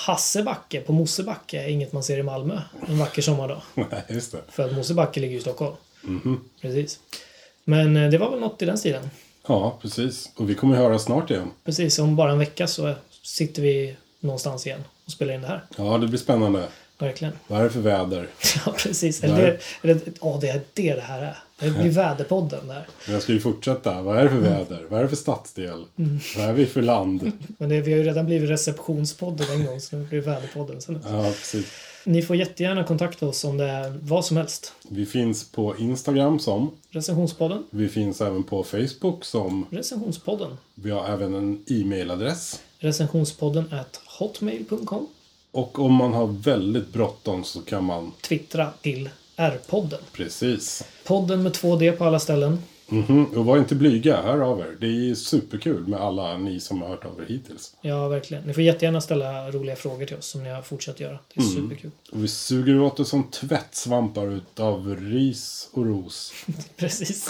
[SPEAKER 2] Hassebacke på Mosebacke är inget man ser i Malmö en vacker sommardag.
[SPEAKER 1] Nej, just det.
[SPEAKER 2] För att Mosebacke ligger ju i Stockholm.
[SPEAKER 1] Mhm.
[SPEAKER 2] Precis. Men eh, det var väl något i den stilen.
[SPEAKER 1] Ja, precis. Och vi kommer höra snart igen.
[SPEAKER 2] Precis, om bara en vecka så sitter vi någonstans igen och spelar in det här.
[SPEAKER 1] Ja, det blir spännande.
[SPEAKER 2] Verkligen.
[SPEAKER 1] Vad är det för väder?
[SPEAKER 2] Ja, precis. Eller det, eller, ja, det är det det här är. Det blir väderpodden där.
[SPEAKER 1] Men Jag ska ju fortsätta. Vad är det för väder? Vad är det för stadsdel? Vad är vi för land?
[SPEAKER 2] Men det, vi har ju redan blivit receptionspodden en gång, så nu blir det väderpodden sen.
[SPEAKER 1] Ja, precis.
[SPEAKER 2] Ni får jättegärna kontakta oss om det är vad som helst.
[SPEAKER 1] Vi finns på Instagram som.
[SPEAKER 2] Recensionspodden,
[SPEAKER 1] Vi finns även på Facebook som.
[SPEAKER 2] recensionspodden,
[SPEAKER 1] Vi har även en e-mailadress.
[SPEAKER 2] recensionspodden at hotmail.com,
[SPEAKER 1] Och om man har väldigt bråttom så kan man.
[SPEAKER 2] twittra till R-podden.
[SPEAKER 1] Precis.
[SPEAKER 2] Podden med 2D på alla ställen.
[SPEAKER 1] Mhm, Och var inte blyga, hör av er. Det är superkul med alla ni som har hört av er hittills.
[SPEAKER 2] Ja, verkligen. Ni får jättegärna ställa roliga frågor till oss som ni har fortsatt göra. Det är superkul.
[SPEAKER 1] Och vi suger åt det som tvättsvampar utav ris och ros.
[SPEAKER 2] Precis.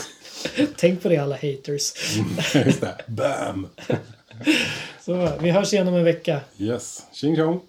[SPEAKER 2] Tänk på det alla haters.
[SPEAKER 1] Just det. Bam!
[SPEAKER 2] Så, vi hörs igen om en vecka.
[SPEAKER 1] Yes. Tjing tjong!